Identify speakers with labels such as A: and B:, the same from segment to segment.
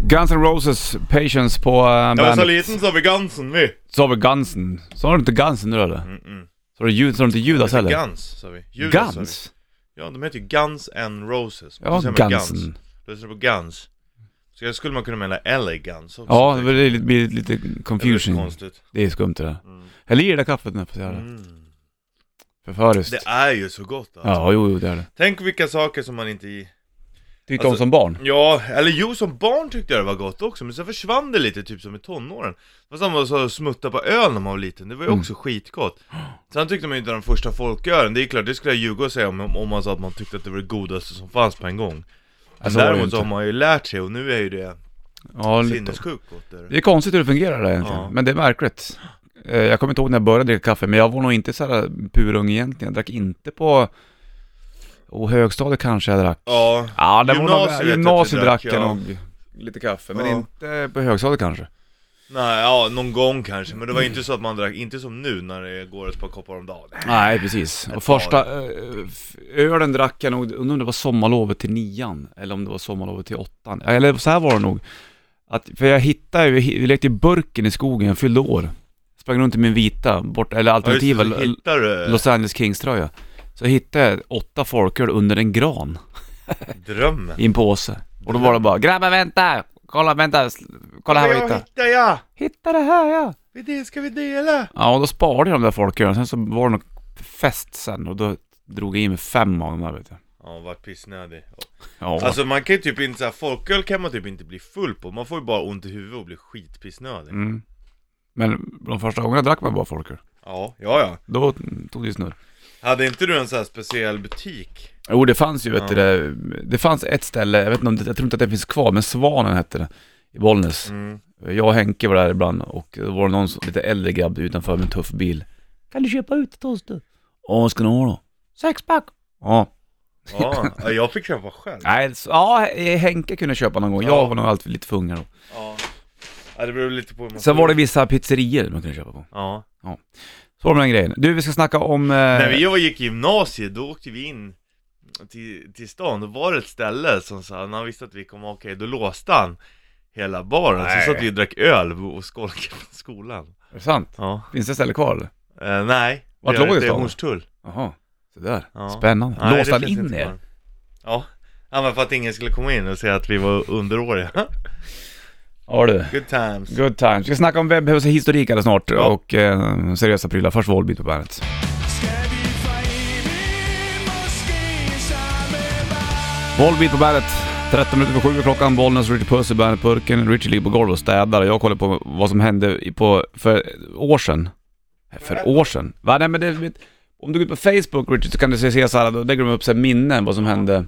A: Guns N' Roses Patience på eh,
B: Jag var så
A: bandet.
B: liten så vi Gansen vi. Mm,
A: Så har vi Gunsen. Så har du inte Gunsen nu eller? Så har du ljud, så har du inte Judas heller?
B: Guns sa vi. Judas, sa vi.
A: Guns?
B: Ja, de heter ju Guns and Roses.
A: Ja,
B: Då säger man
A: Gunsen.
B: Guns. Då lyssnar på Guns. Så jag skulle man kunna mena LA Guns också.
A: Ja, det
B: tänker jag.
A: blir lite, blir lite
B: det är så
A: confusion.
B: konstigt.
A: Det är skumt det där. Häll i det där kaffet nu får jag göra det.
B: Mm.
A: Förföriskt.
B: Det är ju så gott alltså.
A: Ja, jo, jo det är det.
B: Tänk vilka saker som man inte... i-
A: Tyckte
B: Alltså-
A: om som barn?
B: Ja, eller jo som barn tyckte jag det var gott också, men sen försvann det lite typ som i tonåren. Det var samma som att smutta på öl när man var liten, det var ju
A: Mm.
B: också skitgott. Sen tyckte man ju inte den första folkölen, det är klart, det skulle jag ljuga och säga om, om man sa att man tyckte att det var det godaste som fanns på en gång. Men
A: Alltså, var det ju
B: däremot så har
A: inte.
B: man ju lärt sig och nu är ju det
A: Ja, lite.
B: sinnessjukt gott. Är
A: Det
B: det.
A: är konstigt hur det fungerar där egentligen,
B: Ja.
A: men det är märkligt. Eh, Jag kommer inte ihåg när jag började dricka kaffe, men jag var nog inte så här purung egentligen. Jag drack inte på... Oh, högstadiet kanske jag drack.
B: Ja,
A: Ja, det var
B: Gymnasiet vet
A: nog,
B: jag
A: gymnasiet
B: att jag
A: drack
B: drack,
A: jag
B: ja.
A: nog lite kaffe, men
B: Ja.
A: inte på högstadiet kanske.
B: nej, ja, någon gång kanske, men det var inte så att man drack, inte som nu när det går ett par koppar om dagen.
A: Nej, precis. Och
B: par.
A: första eh, f- ölen drack jag nog, undrar om det var sommarlovet till nian, eller om det var sommarlovet till åttan. Eller så här var det nog. Att, för jag hittade ju, vi lekte i burken i skogen, jag fyllde år. Sprang runt i min vita, bort, eller
B: Ja, just det,
A: alternativa,
B: så hittar du
A: Los Angeles Kings-tröja. Så hittade jag åtta folköl under en gran
B: drömmen.
A: i en påse. Och då var det bara 'Grabbar vänta! Kolla, vänta! sl- Kolla här vad jag
B: jag
A: hittade!'
B: hittar jag!
A: Hitta det här ja!
B: Vi det ska vi dela!
A: Ja, och då sparade jag de där folkölen. Sen så var det nog fest sen och då drog jag i mig fem av dem där vet jag.
B: Ja, vart pissnödig.
A: Ja,
B: Alltså man kan ju typ inte såhär, folköl kan man typ inte bli full på, man får ju bara ont i huvudet och blir skitpissnödig.
A: mm. Men de första gångerna drack man bara folköl.
B: Ja, ja ja.
A: Då mm, tog det ju snurr.
B: Hade inte du en sån här speciell butik?
A: Jo, det fanns ju vet du
B: Ja.
A: det. Det fanns ett ställe, jag vet inte om det, jag tror inte att det finns kvar, men Svanen hette det. I Bollnäs.
B: Mm.
A: Jag och Henke var där ibland och då var det någon som- lite äldre grabb utanför med en tuff bil. Kan du köpa ut till oss du? Ja, vad ska ni ha då? Sexpack. Ja.
B: Ja, ja, jag fick köpa själv.
A: Nej, så, ja, Henke kunde köpa någon gång. Jag var nog alltid lite för unga då.
B: Ja. ja, det beror lite på hur man
A: Sen var det vissa pizzerier man kunde köpa på.
B: Ja.
A: Så var det med den grejen. Du, vi ska snacka om... Eh,
B: När vi var- gick i gymnasiet, då åkte vi in till, till stan, då var det ett ställe som sa, när han visste att vi kom, okej, då låste han hela baren,
A: Nej.
B: så satt vi och drack öl och skolkade från skolan.
A: Är det sant?
B: Ja.
A: Finns det ställe kvar eller?
B: Eh, nej,
A: Vart
B: Det är-
A: låg det
B: det? är
A: stan?
B: Hornstull.
A: Jaha, så där.
B: Ja.
A: Spännande.
B: Nej,
A: Låste
B: det
A: han
B: finns
A: in
B: inte
A: er?
B: kvar. Ja. ja, men för att ingen skulle komma in och säga att vi var underåriga.
A: Ja du.
B: Good times.
A: Good times. Vi ska snacka om webbhushistorik alldeles snart
B: Ja.
A: och eh, seriösa prylar. Först Volbeat på bandet. Volbeat på bandet. 13 minuter på 7 klockan, Bollnäs, Richie Puss i bandetburken, Richie ligger på golvet och städar och jag kollar på vad som hände i- på, för år sedan. För år sedan? Va? Nej men det, vet- om du går ut på Facebook Richie så kan du se, se så här, då lägger de upp så här minnen vad som hände.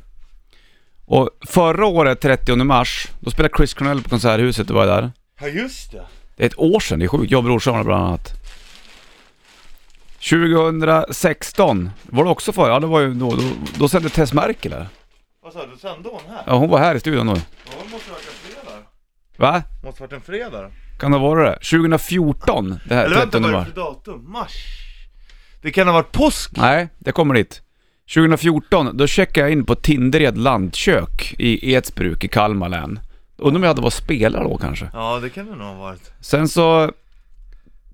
A: Och förra året, 30 mars, då spelade Chris Cornell på Konserthuset, du var där.
B: Ja, just det.
A: Det är ett år sedan, det är sjukt. Jag och brorsan var där bland annat. 2016 var det också för, ja det var ju då, då, då sände Tess Merkel här.
B: Vad sa du? Sände hon här?
A: Ja hon var här i studion då.
B: Ja, det måste ha varit en fredag.
A: Va?
B: Måste ha varit en fredag.
A: Kan det vara det? 2014? Det här
B: Eller vänta,
A: 13
B: vad är det
A: mars?
B: för datum? Mars? Det kan ha varit påsk.
A: Nej, det kommer dit. 2014, då checkade jag in på Tinder i ett landkök i Edsbruk i Kalmar län. Undrar om jag hade varit spelare då kanske.
B: Ja, det kan det nog ha varit.
A: Sen så...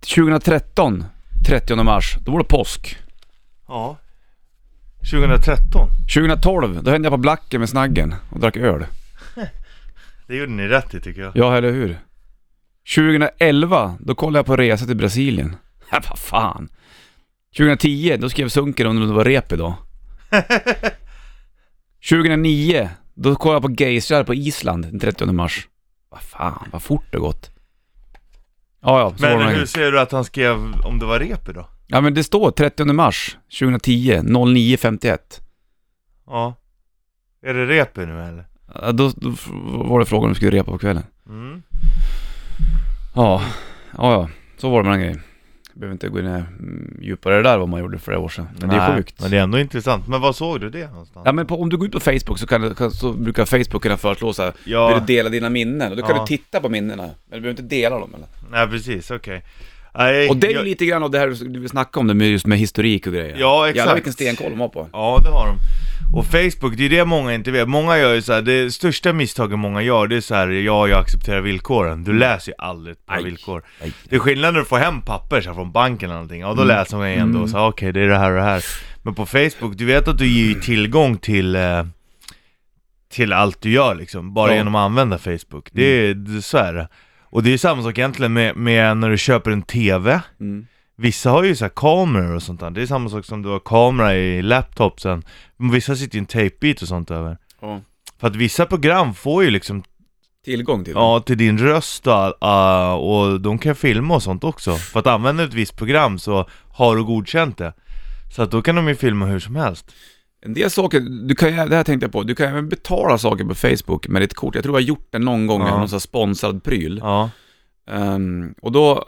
A: 2013, 30 mars, då var det påsk.
B: Ja. 2013.
A: 2012, då hände jag på Blacken med Snaggen och drack öl.
B: Det gjorde ni rätt i tycker jag.
A: Ja, eller hur? 2011, då kollade jag på resa till Brasilien. Ja, vad fan. 2010, då skrev Sunken om det var rep idag. 2009, då kollade jag på Geisrar på Island den 30 mars. Vad fan, vad fort det gått. Ja, ja, så var det
B: Men
A: någon-
B: hur ser du att han skrev om det var rep idag?
A: Ja, men det står 30 mars 2010, 09.51.
B: Ja. Är det rep nu eller?
A: Ja, Då, då f- var det frågan om vi skulle repa på kvällen.
B: Mm.
A: Ja, ja, ja. så var det med den grejen. Behöver inte gå in mm, djupare där vad man gjorde för flera år sedan. Men det är
B: Nej,
A: sjukt.
B: Men det är ändå intressant. Men var såg du det någonstans?
A: Ja men på, om du går ut på Facebook så, kan, du- kan, så brukar Facebook kunna föreslå så här,
B: Ja.
A: vill du dela dina minnen? Och då kan
B: Ja.
A: du titta på minnena, men du behöver inte dela dem eller?
B: Nej precis, okej. Nej,
A: Och det är ju
B: jag-
A: lite grann av det här du vill snacka om, det med, just med historik och grejer.
B: Ja, exakt.
A: Jävlar vilken stenkoll de har på.
B: Ja det har de. Och Facebook, det är det många inte vet. Många gör ju så här, det största misstaget många gör, det är så här, ja jag accepterar villkoren. Du läser ju aldrig på
A: Mm. Aj.
B: villkor.
A: Aj.
B: Det är skillnad när du får hem papper så här, från banken eller någonting,
A: Mm.
B: ja då läser man igen då och så här, okej det är det här och det här. Men på Facebook, du vet att du ger ju tillgång till eh, till allt du gör liksom, bara
A: Ja. Mm.
B: genom att använda Facebook. Det är, det, så är det. Och det är ju samma sak egentligen med, med när du köper en TV.
A: Mm.
B: Vissa har ju så här kameror och sånt där, det är samma sak som du har kamera i laptopsen Men Vissa sitter ju en tejpbit och sånt över
A: Ja.
B: För att vissa program får ju liksom,
A: Tillgång till det.
B: ja till din röst och, all- ah, och de kan filma och sånt också För att använda ett visst program så har du godkänt det Så att då kan de ju filma hur som helst
A: En del saker, du kan, ju- det här tänkte jag på, du kan även betala saker på Facebook med ditt kort. Jag tror jag har gjort det någon gång,
B: Ja.
A: med någon sån här sponsrad pryl.
B: Ja,
A: Ehm, och då, eh,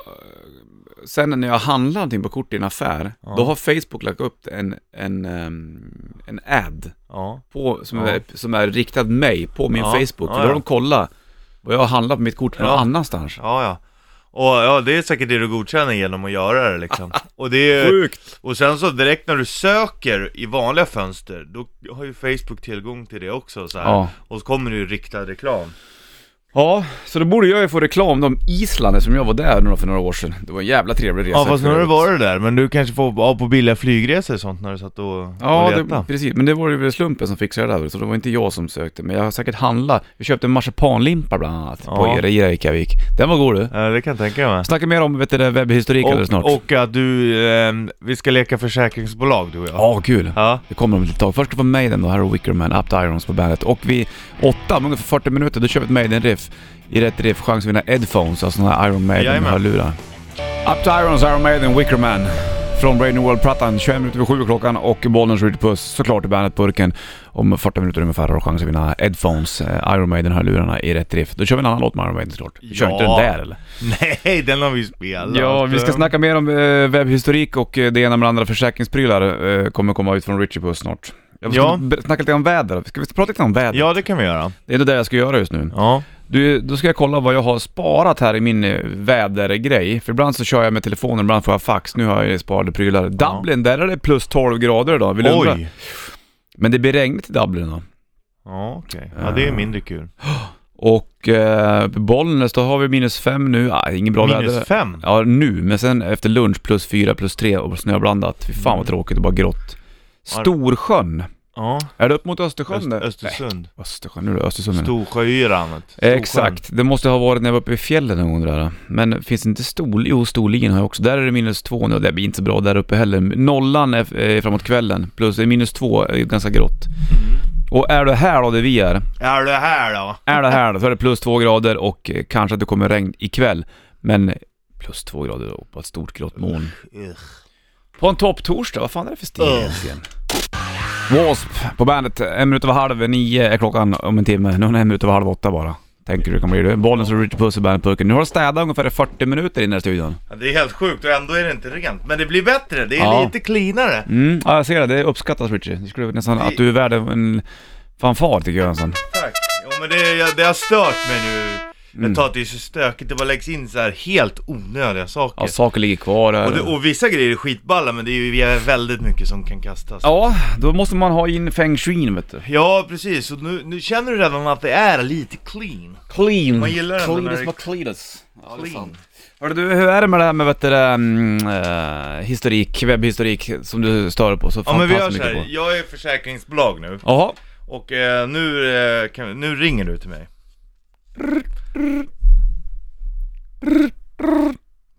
A: sen när jag handlar någonting på kort i en affär,
B: Ja.
A: då har Facebook lagt upp en, en, ehm, en ad
B: ja,
A: på, som,
B: Ja.
A: är, som är riktad mig på min
B: Ja.
A: Facebook. För
B: Ja,
A: då har
B: ja.
A: de kollat vad jag har handlat på mitt kort någon
B: Ja.
A: annanstans.
B: ja, ja. Och ja, det är säkert det du godkänner genom att göra det liksom Och det är ju,
A: Sjukt!
B: Och sen så direkt när du söker i vanliga fönster, då har ju Facebook tillgång till det också så här.
A: Ja.
B: Och så kommer det ju riktad reklam.
A: Ja, så då borde jag ju få reklam om Island som jag var där några- för några år sedan. Det var en jävla trevlig resa.
B: Ja fast nu har
A: för
B: du
A: övrigt.
B: varit där, men du kanske får av på billiga flygresor och sånt när du satt och,
A: Ja,
B: och
A: det,
B: letade.
A: precis. Men det var ju väl slumpen som fixade det där, så det var inte jag som sökte. Men jag har säkert handlat. Jag köpte en marsipanlimpa bland annat
B: Ja.
A: på Reykjavik. Den var god du.
B: Ja, det kan jag tänka mig.
A: Snacka mer om vet du, det, webbhistorik alldeles snart.
B: Och, och att du, ehm, vi ska leka försäkringsbolag du och jag.
A: Ja, kul.
B: Ja.
A: Det kommer om ett litet tag. Först var Maiden då, här har Wickerman, Up to Irons på bandet. Och vid åtta, om ungefär 40 minuter, då kör vi ett Maiden-riff. I rätt riff, chans att vinna headphones, alltså sådana här Iron
B: Jajamän.
A: Maiden-hörlurar. Up to Irons, Iron Maiden, Wickerman. Från Brain World-plattan, 21 minuter över 7 klockan och Bollnäs Ritty Puss såklart i Bandet-burken. Om 40 minuter ungefär har du chans att vinna headphones, eh, Iron Maiden-hörlurarna i rätt riff. Då kör vi en annan låt med Iron Maiden såklart. Vi kör
B: Ja.
A: inte den där eller?
B: Nej, den har vi spelat.
A: Ja, vi ska snacka mer om eh, webbhistorik och eh, det ena med det andra. Försäkringsprylar eh, kommer komma ut från Richie Puss snart. Jag ska
B: Ja.
A: be- snacka lite om väder. Ska vi prata lite om väder?
B: Ja, det kan vi göra.
A: Det är det där jag ska göra just nu.
B: Ja.
A: Du, då ska jag kolla vad jag har sparat här i min eh, vädergrej. För ibland så kör jag med telefonen, ibland får jag fax. Nu har jag sparade prylar. Dublin, där är det plus 12 grader idag. Vill du undra?
B: Oj.
A: Men det blir regnigt i Dublin då.
B: Ja, okej. Ja, det är
A: Eh,
B: mindre kul.
A: Och eh, Bollnäs, då har vi minus 5 nu. Ah, ingen bra väder.
B: Minus fem.
A: Ja, nu, men sen efter lunch plus fyra plus tre och snöblandat. Fy fan
B: Mm.
A: vad tråkigt och bara grått. Storsjön.
B: Ja.
A: Är det upp mot Östersjön
B: Öst,
A: där?
B: Östersund.
A: Nej, Östersjön, nu är det Östersund. menar jag.
B: Storsjöyran. vet du.
A: Eh,
B: Storsjön.
A: Exakt, det måste ha varit när jag var uppe i fjällen någon gång det där. eh. Men finns det inte Storlien? Jo, Storlien har jag också. Där är det minus två nu och det blir inte så bra där uppe heller. Nollan är eh, framåt kvällen, plus det är minus två, är ganska grått.
B: Mm.
A: Och är det här då, där vi är,
B: Är du här då?
A: är det här då, så är det plus två grader och eh, kanske att det kommer regn ikväll. Men plus två grader och på ett stort grått moln. På en topptorsdag, vad fan är det för stil
B: Ugh.
A: egentligen? W.A.S.P. på bandet, en minut över halv nio är klockan om en timme. Nu är det en minut över halv åtta bara. Tänker du kan bli det. Bollen som Richard Puss i bandet-purken. Nu har du städat ungefär 40 minuter inne i studion.
B: Ja, det är helt sjukt och ändå är det inte rent. Men det blir bättre, det är
A: Ja.
B: lite cleanare.
A: Mm, ja, jag ser det. Det uppskattas Richie. Det skulle nästan att du är värd en fanfar tycker jag nästan.
B: Tack. Jo men det, jag, det har stört mig nu.
A: Mm.
B: Jag tar att det är så stökigt, det bara läggs in så här helt onödiga saker.
A: Ja, saker ligger kvar här.
B: och, det, och vissa grejer är skitballa men det är ju väldigt mycket som kan kastas.
A: Ja, då måste man ha in feng shuin vet du.
B: Ja precis, och nu, nu känner du redan att det är lite clean.
A: Clean.
B: Man gillar den
A: Clean
B: när
A: is
B: det-
A: McCleanus. Ja, det är sant.
B: Clean.
A: Hörru du, hur är det med det här med vet du, det, mm, eh, historik, webbhistorik som du stör på så
B: Ja men vi gör
A: fantastiskt
B: så
A: mycket
B: här.
A: på?
B: jag är försäkringsbolag nu.
A: Jaha,
B: Och eh, nu, eh, kan, nu ringer du till mig.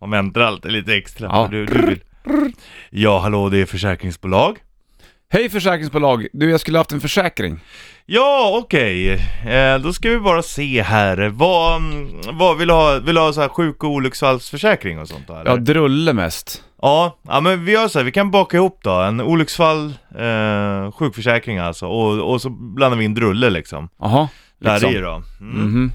B: Man väntar alltid lite extra.
A: Ja.
B: för Du, du vill. Ja, hallå, det är försäkringsbolag.
A: hej försäkringsbolag, du jag skulle haft en försäkring.
B: Ja, okej. Eh, då ska vi bara se här. Vad, mm, vad vill du ha? Vill du ha så här sjuk och olycksfallsförsäkring och sånt då, eller?
A: Jag drulle mest.
B: Ja, ja men vi gör så här, vi kan baka ihop då, en olycksfall, eh, sjukförsäkring alltså, och, och så blandar vi in drulle liksom.
A: Jaha,
B: Där i då. Mm.
A: Mhm.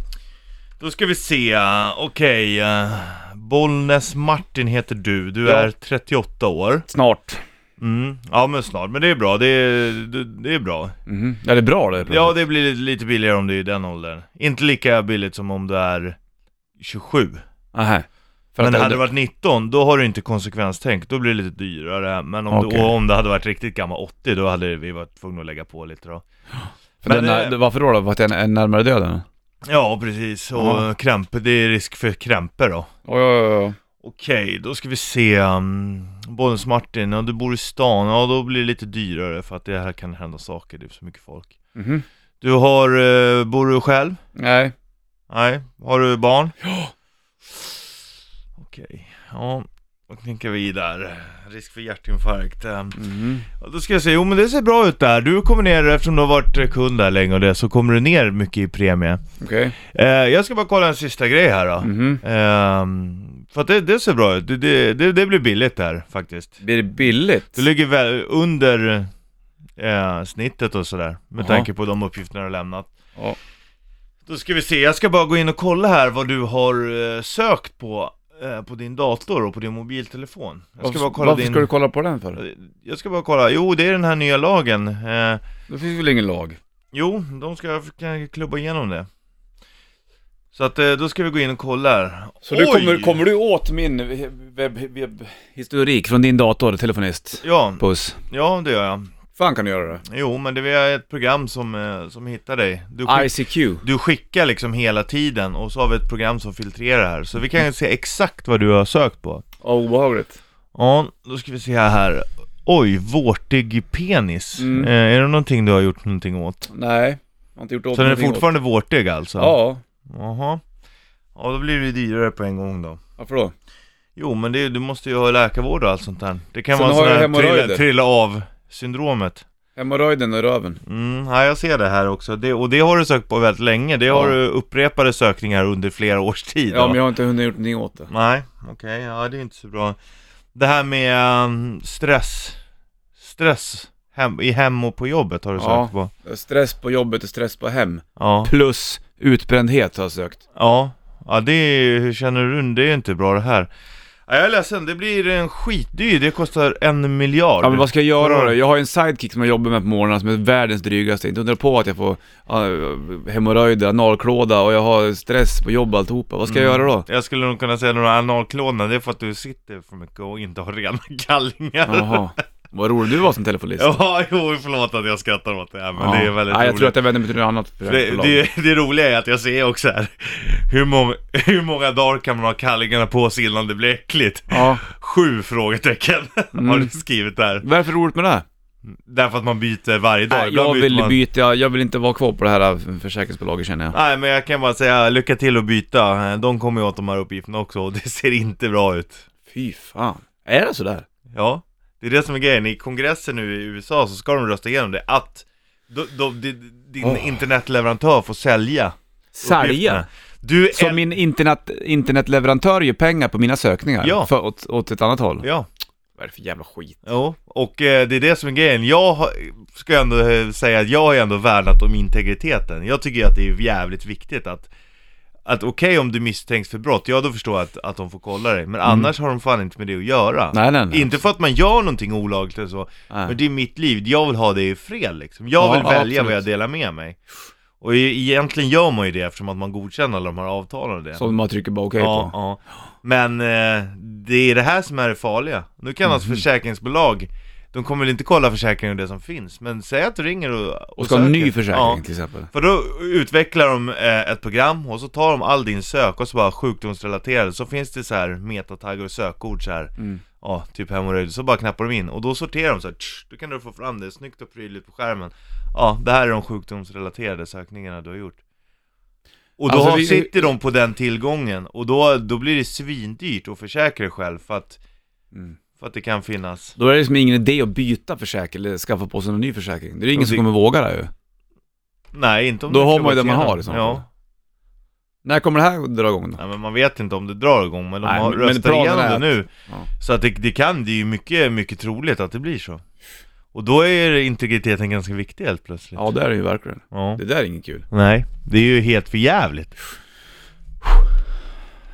B: Då ska vi se, okej, eh, Bollnäs Martin heter du, du
A: Ja.
B: är 38 år.
A: Snart.
B: Mm. Ja men snart, men det är bra, det är, det, det är bra.
A: Mhm. Ja det är bra det.
B: Ja det blir lite billigare om du är i den åldern. Inte lika billigt som om du är 27.
A: Aha. För
B: men
A: att
B: hade du varit 19, då har du inte konsekvenstänk, då blir det lite dyrare. Men om,
A: Okej.
B: du, och om det hade varit riktigt gammal 80, då hade vi varit tvungna att lägga på lite då.
A: för
B: men,
A: den,
B: eh,
A: det- varför då? då? För att den är närmare döden?
B: Ja, precis. Och
A: Ja.
B: krämpe, det är risk för krämpor då.
A: Oj, oj, oj.
B: Okej, då ska vi se. Um, Bonus Martin, ja, du bor i stan, ja då blir det lite dyrare för att det här kan hända saker, det är så mycket folk.
A: Mhm.
B: Du har, eh, bor du själv?
A: Nej.
B: Nej. Har du barn? Ja. Okej, ja. Då tänker vi där. Risk för hjärtinfarkt. ehm.
A: Mhm.
B: Ja, Då ska jag säga, jo men det ser bra ut där. Du kommer ner, eftersom du har varit eh, kund där länge och det, så kommer du ner mycket i premie.
A: Okej.
B: Eh, jag ska bara kolla en sista grej här då.
A: Mhm.
B: Ehm, för att det, det ser bra ut, det, det, det, det blir billigt där faktiskt.
A: Blir det billigt?
B: Du ligger väl under eh, snittet och sådär, med
A: Jaha.
B: tanke på de uppgifterna du har lämnat.
A: Ja.
B: Då ska vi se, jag ska bara gå in och kolla här vad du har eh, sökt på, eh, på din dator och på din mobiltelefon. Jag ska
A: Varför,
B: bara kolla
A: varför
B: din...
A: ska du kolla på den för?
B: Jag ska bara kolla, jo det är den här nya lagen. Eh,
A: Det finns väl ingen lag?
B: Jo, de ska jag kan klubba igenom det. Så att eh, då ska vi gå in och kolla här.
A: Så du
B: Oj!
A: kommer, kommer du åt min webbhistorik webb, historik från din dator, telefonist?
B: Ja,
A: Puss.
B: ja det gör jag.
A: fan kan du göra det?
B: Jo, men det är ett program som, eh, som hittar dig. Du, skick,
A: ICQ.
B: du skickar liksom hela tiden och så har vi ett program som filtrerar här. Så vi kan se exakt vad du har sökt på.
A: Ja, obehagligt.
B: Ja, då ska vi se här. Oj, vårtig penis.
A: Mm.
B: Eh, är det någonting du har gjort någonting åt?
A: Nej, jag har inte gjort åt
B: Så den är
A: någonting åt-
B: fortfarande vårtig alltså?
A: Ja,
B: Jaha. Ja, då blir det ju dyrare på en gång då.
A: varför då?
B: Jo men det, du måste ju ha läkarvård och allt sånt där. Det kan
A: Sen
B: vara
A: har jag
B: sån här
A: hemorrojder.
B: trilla, trilla av syndromet.
A: Hemorrojden och röven.
B: Mm, ja, jag ser det här också. Det, och det har du sökt på väldigt länge. Det har
A: Ja.
B: du upprepade sökningar under flera års tid.
A: Ja,
B: då.
A: men jag har inte hunnit gjort någonting åt det.
B: Nej, okej. Ja, det är inte så bra. Det här med ehm, stress. Stress hem, i hem och på jobbet har du
A: Ja.
B: sökt på.
A: Stress på jobbet och stress på hem.
B: Ja.
A: Plus utbrändhet har jag sökt.
B: Ja. Ja, det är, hur känner du? Det är inte bra det här. Ja, jag är ledsen, det blir en skitdyr. Det kostar en miljard. Mm.
A: Ja men vad ska jag göra
B: Vadå?
A: då? Jag har ju en sidekick som jag jobbar med på morgnarna som är världens drygaste. Inte undra på att jag får uh, hemorrojder, analklåda och jag har stress på jobb och alltihopa. Vad ska jag göra då?
B: Jag skulle nog kunna säga några analklådorna, det är för att du sitter för mycket och inte har rena kallingar
A: Jaha. Vad rolig du var som telefonist.
B: Ja, jo förlåt att jag skrattar åt det här men det är väldigt
A: Nej, jag
B: roligt
A: tror att jag vänder mig till något annat för
B: det, det, det roliga är att jag ser också här hur, mång, hur många dagar kan man ha kallingarna på sig innan det blir äckligt?
A: Ja. Mm.
B: Sju frågetecken har du skrivit där
A: Varför är det roligt med det?
B: Därför att man byter varje dag
A: Nej,
B: Ibland
A: jag
B: byter
A: vill
B: man...
A: byta, jag vill inte vara kvar på det här eh, försäkringsbolaget känner jag.
B: Nej men jag kan bara säga lycka till att byta De kommer ju åt de här uppgifterna också och det ser inte bra ut
A: Fy fan. Är det sådär?
B: Ja, det är det som är grejen. I kongressen nu i USA så ska de rösta igenom det att då, då, di- din
A: Åh.
B: internetleverantör får sälja
A: Sälja?
B: uppgifterna. Du är...
A: Så min internet, internetleverantör gör pengar på mina sökningar?
B: Ja.
A: För, åt, åt ett annat håll?
B: Ja,
A: Vad är det för jävla skit?
B: jo. och eh, det är det som är grejen. Jag har, ska ändå eh, säga att jag har ändå värnat om integriteten. Jag tycker att det är jävligt viktigt att att okej om du misstänks för brott, ja då förstår jag att, att de får kolla dig. Men annars har de fan inte med det att göra.
A: Mm. Nej, nej, nej.
B: Inte för att man gör någonting olagligt eller så,
A: Nej.
B: men det är mitt liv, jag vill ha det i fred liksom. Jag
A: Ja,
B: vill välja
A: absolut.
B: vad jag delar med mig. Och e- egentligen gör man ju det eftersom att man godkänner alla de här avtalen och det.
A: Som man trycker bara okej
B: ja,
A: på?
B: ja. Men eh, det är det här som är det farliga. Nu kan
A: Mhm.
B: alltså försäkringsbolag, de kommer väl inte kolla försäkringen och det som finns, men säg att du ringer och
A: Och ska ha en ny
B: söker.
A: försäkring
B: Ja.
A: till exempel?
B: För då utvecklar de eh, ett program och så tar de all din sök och så bara sjukdomsrelaterade så finns det så här metataggar och sökord så här.
A: Mm.
B: Ja, typ hemorrojd. Så bara knappar de in och då sorterar de så här. Tsch, då kan du få fram det snyggt och prydligt på skärmen. Ja, det här är de sjukdomsrelaterade sökningarna du har gjort. Och då
A: Alltså,
B: har-
A: vi-
B: sitter de på den tillgången och då, då blir det svindyrt att försäkra dig själv för att,
A: Mm.
B: för att det kan finnas.
A: Då är det liksom ingen idé att byta försäkring eller skaffa på sig någon ny försäkring. Det är ingen
B: Och
A: som
B: det-
A: kommer våga det här ju.
B: Nej, inte om
A: Då
B: det
A: har
B: ska
A: man ju
B: gå
A: det man
B: igenom.
A: har i så fall.
B: Ja.
A: När kommer det här dra igång då?
B: Nej men man vet inte om det drar igång men de
A: Nej,
B: har
A: men
B: röstat
A: planen
B: igenom
A: är
B: det
A: att-
B: nu
A: Ja.
B: Så att det, det kan, det är ju mycket, mycket troligt att det blir så Och då är integriteten ganska viktig helt plötsligt
A: Ja, det är det ju verkligen.
B: Ja.
A: Det där är inget kul.
B: Nej, det är ju helt för jävligt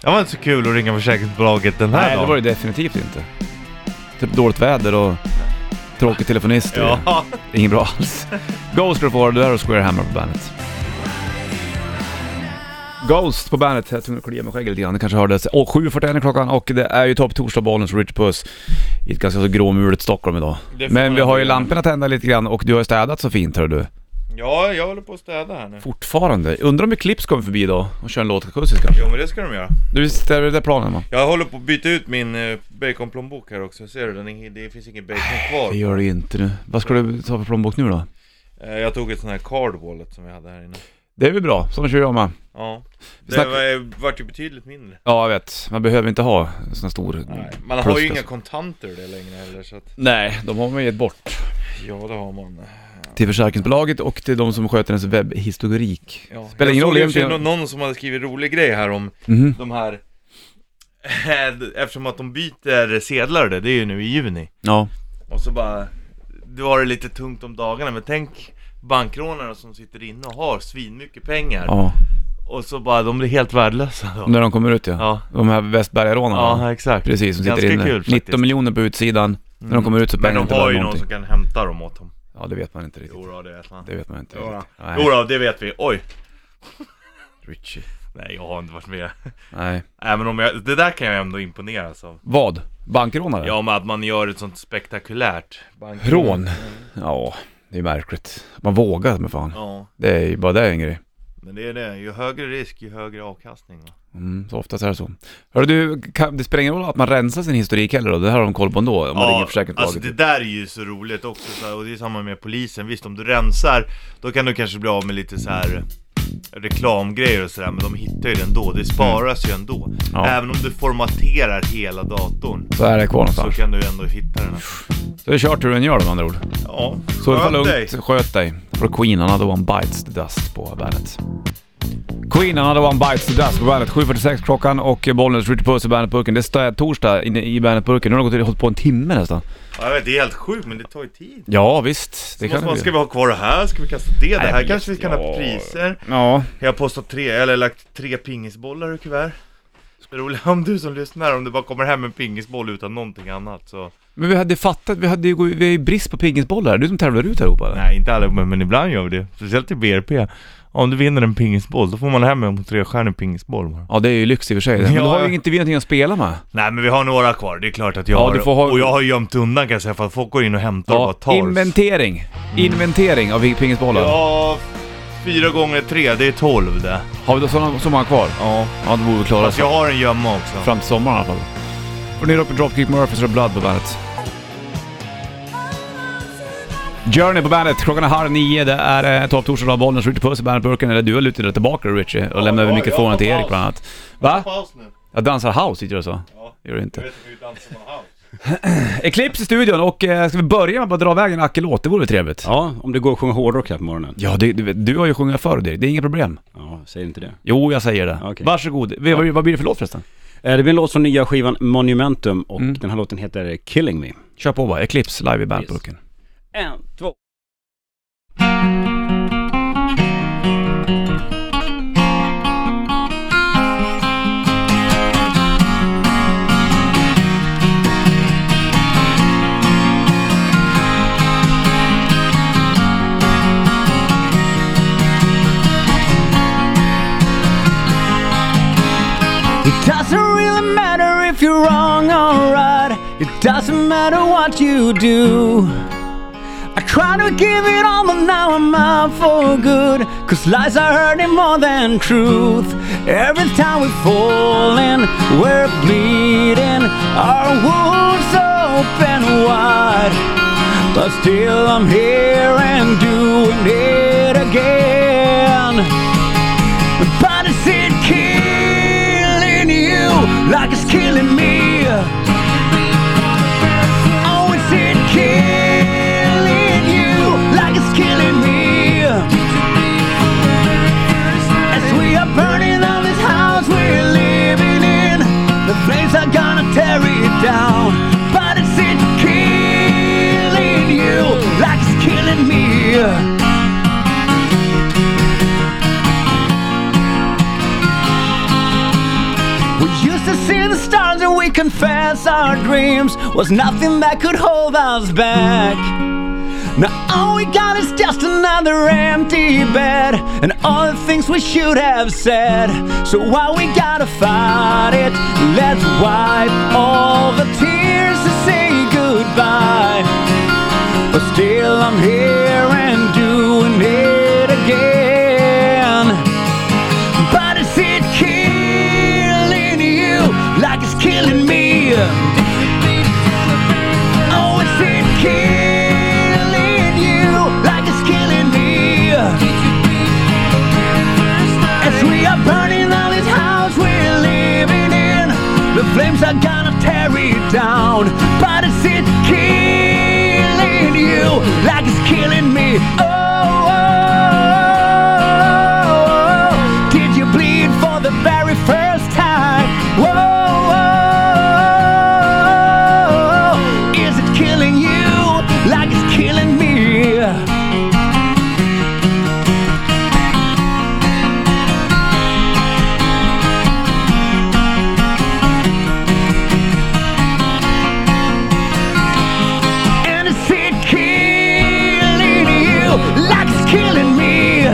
B: Det var inte så kul att ringa försäkringsbolaget den här
A: Nej, det
B: dagen
A: var det definitivt inte. Typ dåligt väder och tråkig telefonist. och-
B: Ja,
A: Inget bra alls. Ghost Report, det här är Square Hammer på bandet. Ghost på bandet. Jag tvungen att klia mig i skägget lite grann, det kanske hördes. Och 7.41 är klockan och det är ju topp torsdagbollen som Richard Puss i ett ganska så gråmulet Stockholm idag.
B: Det får
A: Men
B: man
A: vi har ju
B: göra.
A: lamporna tända lite grann och du har ju städat så fint hör du.
B: Ja, jag håller på att städa här nu.
A: Fortfarande. Undrar om Eclipse kommer förbi idag och kör en låt akustiskt kanske.
B: Jo men det ska de göra.
A: Du visst är det där planen va?
B: Jag håller på att byta ut min eh, baconplånbok här också, ser du? Den är, det finns ingen bacon kvar.
A: Det gör det inte nu. Vad ska du ta för plånbok nu då?
B: Eh, Jag tog ett sån här card wallet som vi hade här inne.
A: Det är väl bra, sådana kör jag med.
B: Ja. Det
A: snack-
B: var, vart ju betydligt mindre.
A: Ja jag vet, man behöver inte ha en sån här stor...
B: Nej, man har
A: Plus,
B: ju inga
A: alltså.
B: kontanter det längre heller så att...
A: Nej, de har man gett bort.
B: Ja det har man.
A: Till försäkringsbolaget och till de som sköter ens webbhistorik.
B: Ja.
A: Spelar ingen
B: jag
A: roll
B: såg i och för sig
A: egentligen.
B: någon som hade skrivit rolig grej här om
A: Mhm.
B: de här Eftersom att de byter sedlar och det, det är ju nu i juni
A: Ja.
B: Och så bara Det var det lite tungt om dagarna men tänk Bankrånarna som sitter inne och har svinmycket pengar
A: ja.
B: Och så bara, de blir helt värdelösa då
A: När de kommer ut ja.
B: Ja,
A: De här Västbergarånarna.
B: ja exakt
A: Precis, som sitter
B: Ganska
A: inne.
B: kul
A: 19
B: faktiskt. Mm.
A: miljoner på utsidan. När de kommer ut så
B: Men
A: pengarna
B: de
A: inte
B: har
A: värda
B: ju någon
A: någonting.
B: som kan hämta dem åt dem
A: Ja det vet man inte riktigt.
B: Jodå det vet man
A: Det vet man inte
B: Jodå.
A: riktigt. Nej.
B: Jodå det vet vi, oj
A: Richie.
B: Nej jag har inte varit med
A: Nej.
B: Nej men om jag, det där kan jag ändå imponeras av
A: Vad? Bankrånare?
B: Ja men att man gör ett sånt spektakulärt bankrån
A: Rån? Ja, det är märkligt. Man vågar men fan.
B: Ja
A: Det är ju bara det en grej.
B: Men det är det, ju högre risk ju högre avkastning va?
A: Mm, så oftast är det så. Hörru du, kan, det spelar ingen roll att man rensar sin historik heller då? Det här har de koll på ändå om man ringer försäkringsbolaget.
B: alltså det där är ju så roligt också så här, och det är samma med polisen. Visst om du rensar, då kan du kanske bli av med lite så här eh, reklamgrejer och sådär men de hittar ju det ändå, det sparas ju ändå.
A: Ja.
B: Även om du formaterar hela datorn
A: Så är det kvar
B: så
A: någonstans.
B: kan du ändå hitta den. här.
A: Så det är kört hur den gör med andra ord.
B: Ja,
A: Så det var
B: sköt
A: lugnt,
B: dig.
A: sköt dig. För Queen, another one bites the dust på bandet. Queen, another one bites the dust på bandet. 7.46 klockan och Bollnäs, Richard Puss i bandetburken. Det är torsdag inne i bandetburken. Nu har de gått och hållit på en timme nästan.
B: Ja, jag vet, det är helt sjukt men det tar ju tid.
A: Ja visst, det
B: Måste
A: kan
B: man,
A: det
B: ska
A: bli.
B: vi ha kvar det här? Ska vi kasta det? Det
A: Nej,
B: här
A: jag
B: kanske vi
A: vet,
B: kan
A: ja.
B: ha priser?
A: Ja,
B: Jag har postat tre, eller lagt tre pingisbollar i kuvert. Det roliga om du som lyssnar, om du bara kommer hem med en pingisboll utan någonting annat så...
A: men vi hade fattat. Vi, hade, ju- vi är ju brist på pingisbollar. Du som tävlar ut allihopa eller?
B: Nej, inte alla, men, men ibland gör vi det. Speciellt i BRP. Om du vinner en pingisboll, då får man hem en trestjärnig pingisboll bara.
A: Ja det är ju lyx i och för sig. Men
B: Ja.
A: då har ju inte vi någonting att spela med.
B: Nej, men vi har några kvar. Det är klart att jag
A: Ja,
B: har...
A: du får ha-
B: Och jag har gömt undan kan jag säga, för att folk går in och hämtar och bara
A: Ja,
B: tar. Mm.
A: inventering. Inventering av pingisbollar.
B: Ja, fyra gånger tre, det är tolv det.
A: Har vi då sådana, så många kvar?
B: Ja.
A: Ja, då borde vi klara oss.
B: Fast jag har en gömma också.
A: Fram till sommaren i alla fall. Och ni är uppe i Dropkick Murphys och Blood på bandet. Journey på bandet, klockan är halv nio. Det är eh, topp torsdag av Bollnäs, Richie Puss i bandetburken. Eller du har lutat dig tillbaka Richie och lämnat över
B: ja,
A: mikrofonen
B: jag
A: till
B: har
A: Erik bland annat. Va?
B: Paus nu.
A: Jag dansar house, tyckte du så?
B: Ja.
A: Gör du inte.
B: vet hur dansar man house.
A: Eclipse i studion och eh, ska vi börja med att bara dra vägen Acke-låt? Det vore väl trevligt?
C: Ja, om det går att sjunga hårdrock här på morgonen.
A: Ja, det, du, vet, du har ju sjungit förr Dirk. det är inga problem.
C: Ja, säger inte det.
A: Jo, jag säger det.
C: Okej.
A: Varsågod. Vi- Vad, vad blir det för låt förresten?
C: Eh, Det blir en låt från nya skivan Monumentum och den här låten heter Killing Me.
A: Kör på bara, Eclipse live i bandetburken.
C: En, två.
D: It doesn't really matter if you're wrong or right. It doesn't matter what you do. I try to give it all, but now I'm out for good. Cause lies are hurting more than truth. Every time we fall in, we're bleeding. Our wounds open wide. But still, I'm here and doing it again. But is it killing you like it's killing me? Oh, is it killing you like it's killing me? As we are burning down this house we're living in, the flames are gonna tear it down. But is it killing you like it's killing me? We used to see the stars and we confess our dreams was nothing that could hold us back. Now all we got is just another empty bed and all the things we should have said. So why we gotta fight it? Let's wipe all the tears and say goodbye. But still I'm here and doing it again. But is it killing you like it's killing me? Oh, is it killing you like it's killing me? As we are burning all this house we're living in, the flames are gonna tear it down. But is it killing you like it's killing me? Oh, oh, oh, oh. Did you bleed for the very first time? Whoa, whoa, whoa. is it killing you like it's killing me? And is it killing you like it's killing me?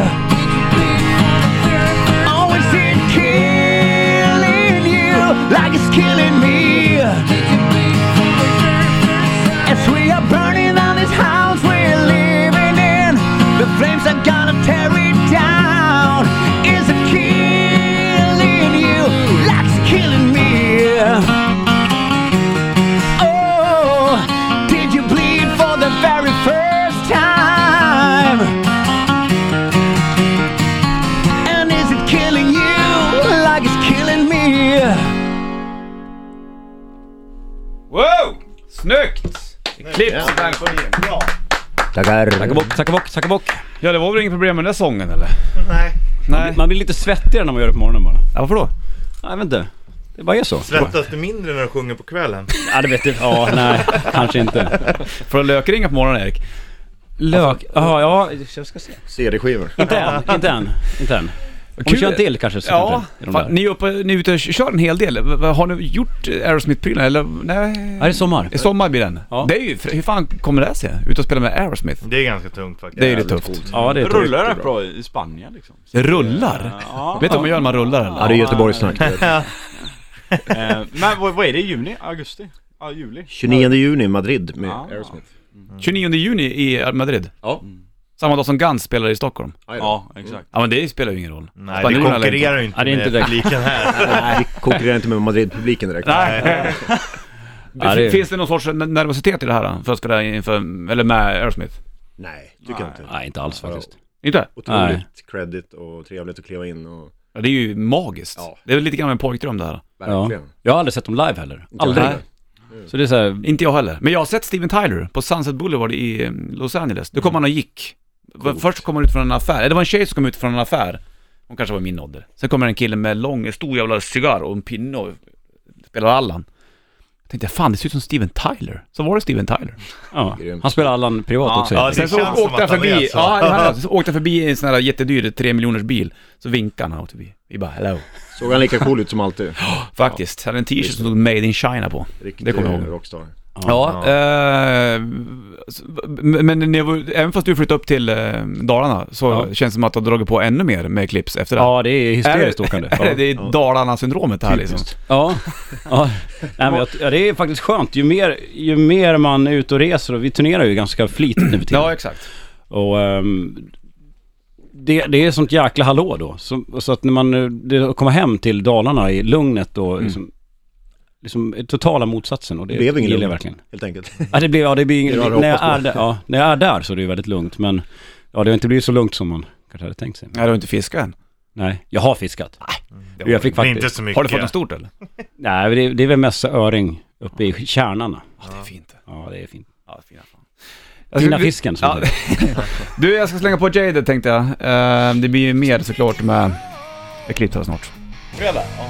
D: Oh, is it killing you like it's killing me? As we are burning down this house we're living in, the flames are gonna tear it down. Is it killing you like it's killing me? Oh, did you bleed for the very first time? And is it killing you like it's killing me?
A: Wow! Snyggt! Klipp sådär.
B: Bra!
D: Tackar.
C: Tackabock, tackabock, tackabock.
A: Ja, det var väl inget problem med den där sången eller?
B: Nej.
A: Nej.
C: Man blir lite svettigare när man gör det på morgonen bara.
A: Ja, varför då?
C: Nej, jag vet inte. Det bara är så.
B: Svettas du mindre när du sjunger på kvällen?
C: Ja, det vet du. Ja, nej, kanske inte.
A: Får du lökringa på morgonen Erik?
C: Lök. Jaha, ja, jag ska se.
E: CD-skivor.
C: Inte än, inte än, inte än. Om
A: Kul.
C: vi kör en till kanske så
A: Ja,
C: kanske. i de
A: fan,
C: där.
A: ni är uppe, ni är ute och kör en hel del. V- v- Har ni gjort Aerosmith-prylar eller? Nej.
C: Ja, det är sommar.
A: I sommar blir den.
C: Ja.
A: Det är ju, hur fan kommer det sig? Ut och spela med Aerosmith?
B: Det är ganska tungt faktiskt.
A: Det är ju lite
E: Jävligt
A: tufft.
E: coolt.
C: Ja, det är tufft.
F: Rullar den bra i Spanien liksom?
A: Det rullar?
F: Ja.
A: Vet du vad man gör när man rullar eller?
E: Ja, det är Göteborgssnack.
F: Eh, Men vad, vad är det? Juni? Augusti? Ja, juli?
E: 29 juni, Madrid med
F: Ah.
E: Aerosmith.
A: 29 juni i Madrid.
E: Ja.
A: Samma dag som Guns spelar i Stockholm.
F: Ja, exakt.
A: Ja men det spelar ju ingen roll.
B: Nej, vi
A: Spanjorerna lär
B: konkurrerar ju inte
C: Ja, det är
B: med
C: inte direkt.
B: publiken här.
E: Nej, vi konkurrerar inte med Madrid-publiken direkt.
A: Nej.
C: Ja, det är-
A: Finns det någon sorts n- nervositet i det här? då? För att spela inför, eller med Aerosmith?
E: Nej, tycker jag inte.
C: Nej, inte alls faktiskt.
A: Inte?
C: Nej.
E: Otroligt credit och trevligt att kliva in och
A: Ja, det är ju magiskt.
E: Ja.
A: Det är väl lite grann en pojkdröm det här.
C: Ja.
E: verkligen.
C: Jag har aldrig sett dem live heller.
E: Inte
C: Aldrig.
E: jag
A: heller.
C: Så det är så här,
A: Inte jag heller. Men jag har sett Steven Tyler på Sunset Boulevard i eh, Los Angeles. Då kom han och gick. Först kom han ut från en affär, eller det var en tjej som kom ut från en affär. Hon kanske var min ålder. Sen kommer en kille med lång, en stor jävla cigarr och en pinne och spelar Allan. Jag tänkte, fan det ser ut som Steven Tyler. Så var det Steven Tyler.
C: ja.
E: Grymt.
C: Han spelar Allan privat
F: Ja,
C: också.
B: ja,
A: Sen
B: det
A: så
B: känns som
A: åkte
B: att
A: jag
B: han
A: förbi,
B: är så.
A: ja, det hade jag. så åkte jag förbi en sån här jättedyr 3 miljoners bil. Så vinkade han åt förbi. Vi bara, hello.
E: Såg han lika cool ut som alltid?
A: Faktiskt, hade en t-shirt som stod Made in China på.
E: Riktig
A: Det kommer jag ihåg.
E: rockstar.
A: Ja, eh, s- men ni, var- även fast du flyttade upp till eh, Dalarna så
C: Ja.
A: känns det som att du har dragit på ännu mer med clips efter det.
C: Ja, det är
A: Är
C: hysteriskt åkande.
A: Är det, det är Dalarna-syndromet här liksom.
C: Ja, ja. Nej, men jag, ja, det är faktiskt skönt. Ju mer, ju mer man är ute och reser, och vi turnerar ju ganska flitigt nu för tiden.
A: exakt.
C: Och, ehm, det, det är sånt jäkla hallå då. Så, så att när man eh, det, kommer hem till Dalarna i lugnet då, liksom, liksom totala motsatsen. Och det,
E: Mm. Det blev ingen
C: gillar jag
E: lugn,
C: verkligen.
E: helt enkelt.
C: Ja, det blir, ja, det blir ingen,
E: Det var det
C: när, jag
E: hoppas
C: är där, ja, när jag är där så är det ju väldigt lugnt, men ja, det har inte blivit så lugnt som man kanske hade tänkt sig.
A: Nej, du har inte fiskat än.
C: Nej, jag har fiskat.
A: Det
C: Och jag fick
B: Men inte
C: faktiskt...
B: så mycket.
A: Har du fått något stort eller?
C: Nej, men det, det är väl mest öring uppe i kärnarna.
A: Ja, det är fint.
C: Ja, det är fint.
A: Ja, fina fan. Alltså,
C: Fina fisken som
A: ja.
C: ja.
A: Du, jag ska slänga på Jade tänkte jag. Eh, det blir ju mer såklart med Eclipse här snart.
B: Fredag? Ja.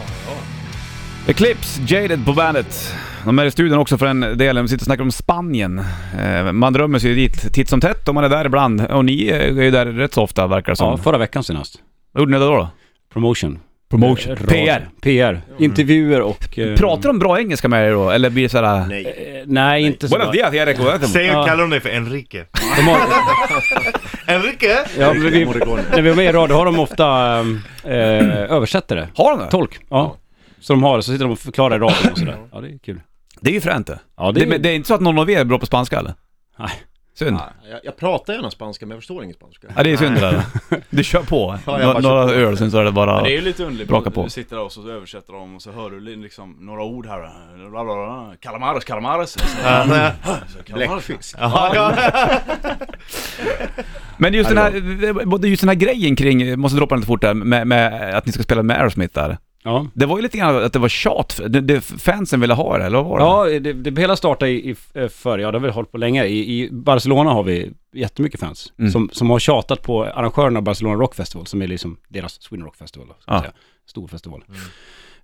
A: Eclipse, Jaded på bandet. De är i studion också för en del, de sitter och snackar om Spanien. Eh, Man drömmer sig ju dit titt som tätt och man är där ibland. Och ni eh, är ju där rätt så ofta verkar det som.
C: ja, förra veckan senast.
A: Vad gjorde ni då? då?
C: Promotion. Eh,
A: Promotion.
G: radio.
A: PR.
G: PR. Intervjuer och...
C: Mm.
G: eh,
A: Pratar de bra engelska med dig då? Eller blir det såhär...
E: Nej.
G: eh, Nej, inte så
A: Buenos
G: bra.
A: dias, jag rekommenderar
B: Säg,
G: Ja.
B: kallar de dig för Enrique?
G: De har,
B: Enrique?
G: ja, men vi,
E: Morricone.
G: när vi var med i radio har de ofta eh, eh, översättare.
A: Har de det?
G: Tolk. Ja. Så de har det, så sitter de och förklarar i radion och sådär. Ja, det är kul.
A: Det är ju fränt det.
G: Ja,
A: Det, men det är inte så att någon av er är bra på spanska eller?
G: Nej.
A: Synd.
E: Jag, jag pratar gärna spanska men jag förstår ingen spanska.
A: Ja det är synd det där. Du kör på.
E: Ja, jag
A: Nå-
E: bara kör
A: Några
E: på.
A: öl sen så är det bara...
F: Men det är ju lite underligt,
A: Braka
F: på.
A: på.
F: du sitter där och så översätter de och så hör du li- liksom några ord här, bla, bla, bla, calamares, calamares,
E: Bläckfisk.
B: Ja, ja.
A: Men just den, här, både just den här grejen kring, jag måste droppa den lite fort där, med, med att ni ska spela med Aerosmith där.
G: Ja.
A: Det var ju lite grann att det var tjat, det, det fansen ville ha det, eller vad var det?
G: Ja, det, det hela startade i, i eh, förr, ja det har vi hållit på länge. I, I Barcelona har vi jättemycket fans
A: Mm.
G: som, som har tjatat på arrangörerna av Barcelona Rock Festival, som är liksom deras Sweden Rock Festival, då, ska man
A: Ja.
G: säga. stor festival.
A: Mm.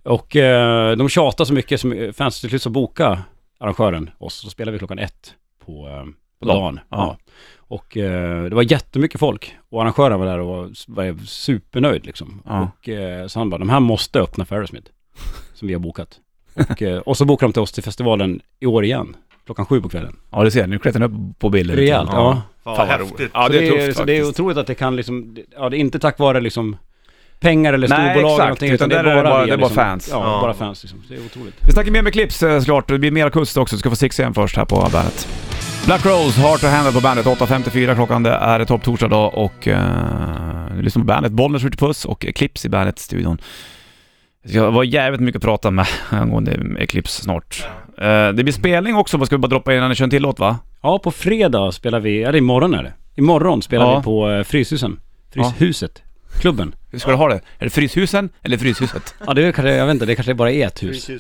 G: Och eh, de tjatar så mycket, som eh, fans till slut så boka arrangören oss, så spelar vi klockan ett på, eh, på
A: Dagen. Ah.
G: dagen.
A: Ja.
G: Ja. Och eh, det var jättemycket folk och arrangören var där och var, var supernöjd liksom.
A: Ja.
G: Och eh, så han bara, de här måste öppna för Aerosmith, som vi har bokat. Och, eh, och så bokade de till oss till festivalen i år igen, klockan sju på kvällen.
A: Ja, du ser, nu klättrar den upp på bilden. lite
G: Rejält,
A: grann.
G: ja.
B: Fan
A: Fan
B: vad
A: vad
B: häftigt.
A: Ja,
G: Så
A: det är tufft
G: så det är
A: faktiskt.
G: otroligt att det kan liksom, det- ja det är inte tack vare liksom pengar eller
A: Nej,
G: storbolag eller
A: exakt,
G: någonting,
A: utan där är det bara-
G: via liksom-
A: det är bara fans.
G: Ja,
B: Ja.
G: bara fans liksom. Det är otroligt.
A: Vi snackar mer med clips eh, såklart, det blir mera kust också. Du ska få Six igen först här på bandet. Black Rose, Heart to Handle på bandet. 8.54 klockan, det är topp torsdag dag och eh, du lyssnar på bandet. Bollnäs skjuter puss och Eclipse i bandet-studion. Jag var jävligt mycket att prata med angående Eclipse snart. Eh, det blir spelning också, vad ska vi bara droppa in innan ni kör en till låt va?
G: Ja, på fredag spelar vi, eller imorgon är det. Imorgon spelar
A: Ja.
G: vi på eh, Fryshusen. Fryshuset. Klubben.
A: Hur ska du ha det? Är det Fryshusen eller Fryshuset?
G: Ja, det är kanske, jag vet inte, det kanske bara är ett hus.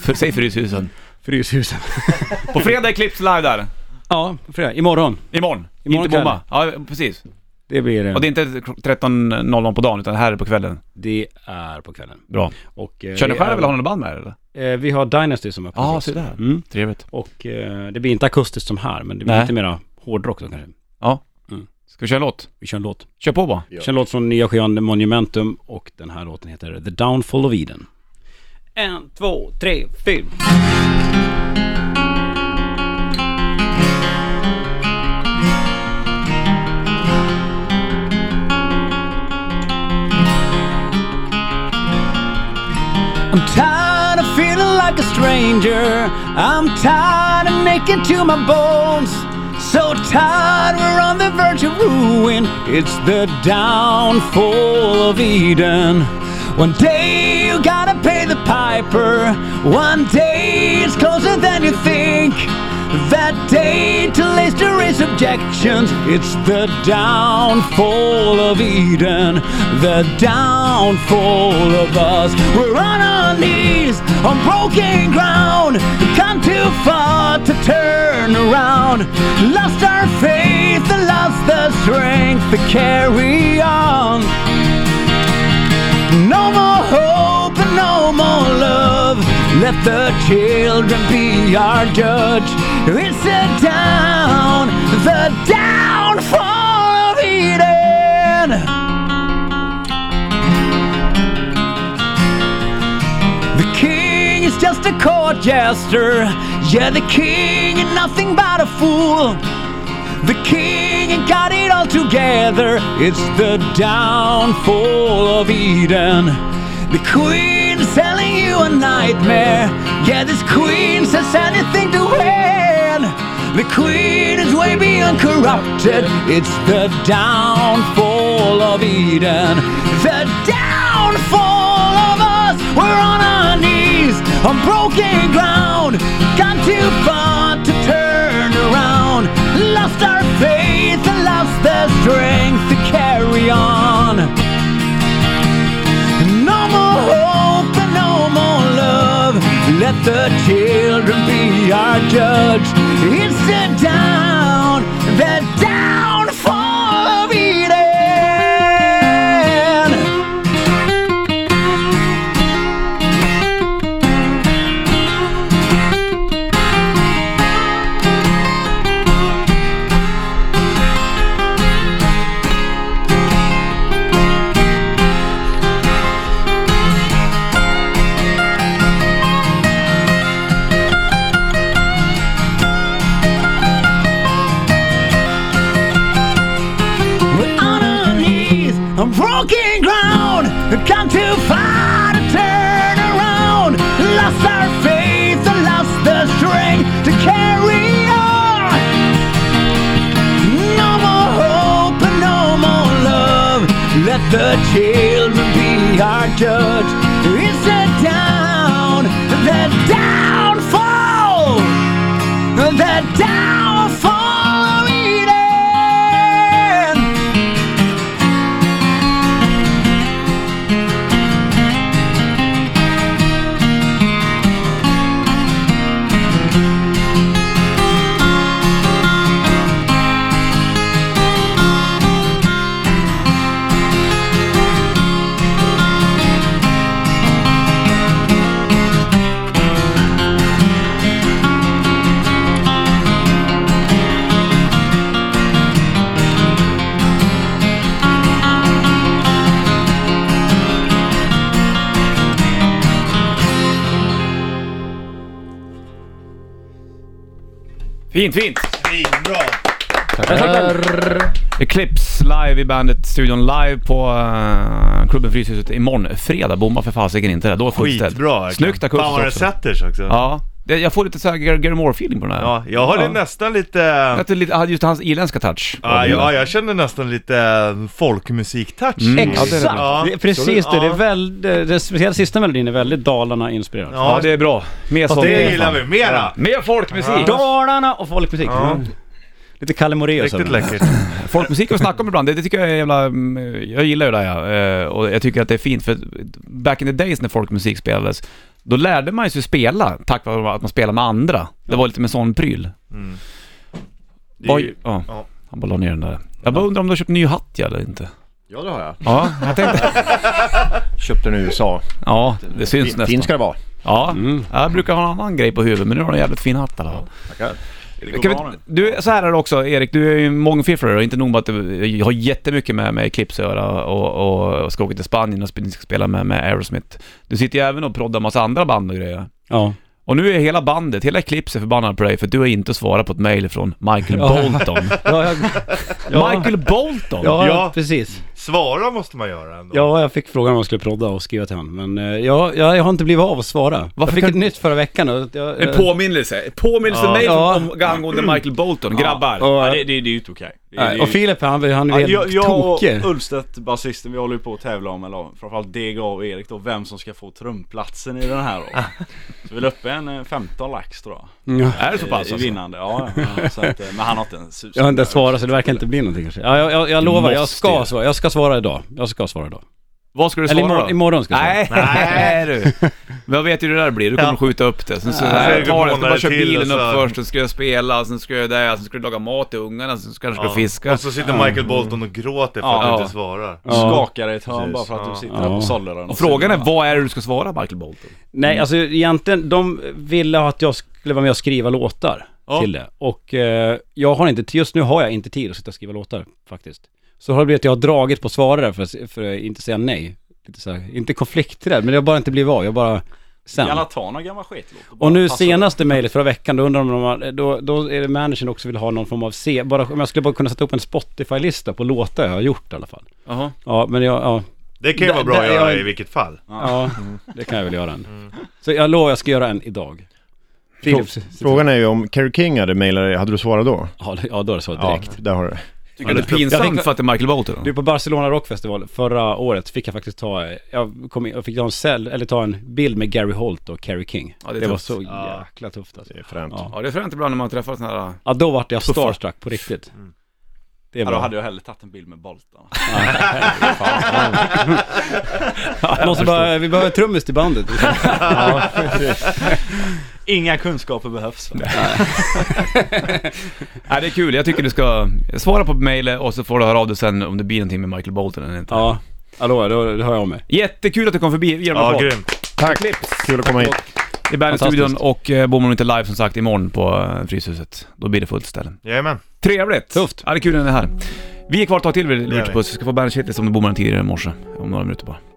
A: För, säg Fryshusen.
G: Fryshusen.
A: På fredag är Eclipse live där.
G: Ja, på fredag. Imorgon.
A: Imorgon.
G: Imorgon
A: inte bomba. Ja, precis.
G: Det blir eh,
A: Och det är inte 13.00 på dagen utan här är på kvällen.
G: det är på kvällen.
A: Bra.
G: Och, eh,
A: Kör ni
G: det
A: själva
G: är-
A: eller har ni något band med er eller?
G: Eh, vi har Dynasty som öppnar
A: Ja,
G: för oss.
A: se där.
G: Mm.
A: Trevligt.
G: Och eh, det blir inte akustiskt som här, men det blir
A: Nej.
G: lite mera hårdrock då kanske.
B: Mm.
A: Ska vi köra en låt?
G: Vi kör en låt.
A: Kör på bara.
E: Ja.
G: Vi kör en låt från nya skivan Monumentum och den här låten heter The Downfall of Eden. En, två, tre, fyra.
C: I'm tired of feeling like a stranger. I'm tired of naked to my bones. So tired we're on the verge of ruin. It's the downfall of Eden. One day you gotta pay the piper. One day it's closer than you think. That day to history's objections. It's the downfall of Eden. The downfall of us. We're on our knees on broken ground. We've come too far to turn around. Lost our faith and lost the strength to carry on. No more hope and no more love. Let the children be our judge. It's the down, the downfall of Eden. The king is just a court jester. Yeah, the king and nothing but a fool. The king ain't got it all together. It's the downfall of Eden. The queen is selling you a nightmare. Yeah, this queen says anything to win. The queen is way beyond corrupted. It's the downfall of Eden. The downfall of us. We're on our knees on broken ground. Gone too far to turn around. Lost our faith and lost the strength to carry on. No more hope and no more love. Let the children be our judge. It's the down, the downfall of Eden.
D: judge is the down, the downfall, the downfall of Eden.
A: Fint, fint!
B: Bra.
A: Eclipse live i bandet-studion, live på eh, klubben Fryshuset imorgon. Fredag, bomba för fasiken inte det. Då är fullt ställt.
B: Skitbra. verkligen.
A: Snyggt akustiskt
B: Fan vad det
A: också.
B: sätter sig också. Ja.
A: Ja, det, jag får lite såhär Gary Gary Moore-feeling på den här.
B: jag har
A: Ja.
B: det nästan lite...
A: Att det är lite, ah, just hans irländska touch.
B: Ja, ja, jag känner nästan lite eh, folkmusik-touch.
A: Mm.
B: Ja,
A: Ex-
B: det-
A: det är
C: Exakt!
A: det.
B: Ja,
C: det är precis det.
B: absolut.
C: Det
B: Ja.
C: är väldigt, det speciellt sista melodin är väldigt Dalarna-inspirerad.
A: Ja,
B: ja,
A: det är bra. Mer sånt.
B: det gillar vi. Mera!
A: Mer folkmusik!
C: Dalarna och folkmusik.
B: Ja.
C: Mm. Lite Kalle Moraeus.
B: Riktigt
C: över det.
B: läckert.
A: Folkmusik har vi snackat om ibland, det, det tycker jag är jävla... mm, Jag gillar ju det ja. Eh, och jag tycker att det är fint för back in the days när folkmusik spelades, då lärde man ju sig spela tack vare att man spelade med andra. Det var lite med sån pryl.
B: Mm.
F: Det är
A: Oj,
F: ju-
A: ja.
B: ja.
A: Han bara la ner den där. Jag bara undrar om du har köpt ny hatt ja, eller inte?
E: Ja, det har jag.
A: Ja, jag tänkte...
E: Köpte den i USA.
A: Ja, det syns
E: Fin
A: nästan.
E: ska det vara.
A: Ja, jag brukar ha en annan grej på huvudet men nu har du en jävligt fin hatt i alla fall.
E: Tackar.
F: Det går
A: Kan
F: bra
A: vi,
F: nu.
A: du, så här är det också Erik, du är ju en mångfifflare och inte nog med att du jag har jättemycket med, med Eclipse att göra och, och, och ska åka till Spanien och sp- ska spela med, med Aerosmith. Du sitter ju även och proddar massa andra band och grejer.
C: Ja.
A: Och nu är hela bandet, hela Eclipse förbannad på dig för att du har inte svarat på ett mail från Michael
C: Ja.
A: Bolton.
C: Ja, jag, ja.
A: Michael Bolton?
C: Ja,
B: Ja.
C: precis.
B: Svara måste man göra ändå.
C: Ja, jag fick frågan om jag skulle prodda och skriva till honom. Men eh, jag, jag, jag har inte blivit av att svara.
A: Varför
C: jag fick
A: kan-
C: ett nytt förra veckan. Och jag, eh,
A: En påminnelse, påminnelse
B: Ja.
A: mail
C: Ja.
A: om angående Michael Bolton, grabbar.
C: och,
F: Ja, det, det, det är ju inte okej. Det- det är
C: nej,
F: ju-
C: och Filip han, han är
F: Ja,
C: helt
F: jag, jag och
C: tokig.
F: Ulstedt, basisten, vi håller ju på att tävla om, eller framförallt DGA och Erik då, vem som ska få trumplatsen i den här då. Så vi la upp en eh, 15 lax tror jag.
C: Ja.
A: Är det så pass
F: I- i
A: alltså?
F: vinnande, ja, ja. Så att, eh, men han har inte en sus.
C: Jag har inte ens svarat så det verkar inte bli någonting kanske. Ja, jag, jag, jag lovar, jag
A: måste
C: ska
A: ju.
C: svara. Jag ska svara idag. Jag ska svara idag.
A: Vad ska du
C: Eller
A: svara
C: imorgon,
A: då?
C: imorgon ska jag svara.
A: Nej, nej du. Men jag vet ju hur det där blir, du kommer skjuta upp det. Sen så, nej,
B: så är
A: jag
B: det
A: tar det, jag ska bara
B: månader
A: köra
B: till
A: bilen
B: och
A: upp
B: så-
A: först, sen ska jag spela, sen ska jag det, sen ska jag laga mat till ungarna, sen kanske jag ska fiska.
B: Och så sitter Michael Bolton och gråter för att
A: Ja.
B: han inte svarar.
F: Du skakar i ett hörn bara för att
B: Ja.
F: du sitter där på sollaren.
A: Och frågan är, vad är det du ska svara Michael Bolton?
C: Nej, alltså egentligen, de ville att jag skulle vara med och skriva låtar
A: Ja.
C: till det. Och eh, jag har inte, just nu har jag inte tid att sitta och skriva låtar faktiskt. Så har det blivit att jag har dragit på svarare för, att se- för att inte säga nej. Lite så här, inte konflikträdd, men jag har bara inte blivit av. Jag bara, sen.
F: Jalla ta några gamla skitlåt bara
C: Och nu
F: passa
C: senaste mejlet förra veckan, då undrar de om man, då, då är det managern också vill ha någon form av C, bara om jag skulle bara kunna sätta upp en Spotify-lista på låtar jag har gjort i alla fall.
A: Jaha.
C: Ja, men jag, ja,
B: Det kan ju
C: Där-
B: vara bra
C: där
B: att göra
C: jag-
B: i vilket fall.
C: ja, det kan jag väl göra en. Så jag lovar, jag ska göra en idag. Filip,
E: Frågan är ju om Kerry King hade mejlat dig, hade du svarat då?
C: Ja, det- ja då är det så direkt.
E: Ja, där har du
A: Tycker du det är
C: Jag
A: pinsamt
C: tänkte-
A: för att det är Michael Bolton?
C: Du, på Barcelona Rockfestival förra året fick jag faktiskt ta, jag, kom in, jag fick ta en cell, eller ta en bild med Gary Holt och Carrie King.
A: Ja, det
C: det
A: är
C: var
A: tufft.
C: så
B: Ja.
C: jäkla tufft alltså.
E: det. är Fränt.
C: Ja.
A: Ja, det är fränt ibland när man träffar sådana här...
C: Ja, då vart jag
A: Tuffa.
C: starstruck på riktigt. Det
F: Ja, då
C: var-
F: hade jag hellre tagit en bild med Boltan.
C: Jag måste bara, vi behöver en trummis till bandet.
F: Inga kunskaper behövs. va?
A: Nej, det är kul. Jag tycker du ska svara på mejlet och så får du höra av dig sen om det blir någonting med Michael Bolton eller inte.
C: ja, hallå, då, då hör jag av mig.
A: Jättekul att du kom förbi. Ge dem en
B: Ja,
A: applåd.
B: grymt.
E: Tack! Kul att komma hit.
A: I Bandit-studion och eh, bommar inte live som sagt imorgon på eh, Fryshuset. Då blir det fullt ställe.
B: Jajamän.
A: Trevligt!
C: Tufft.
A: Ja, det är kul när ni är här. Vi är kvar ett tag till vid
B: vi.
A: Ritchie Puss. Vi ska få bandet Shitlist som det bommade tidigare i morse. Om några minuter bara.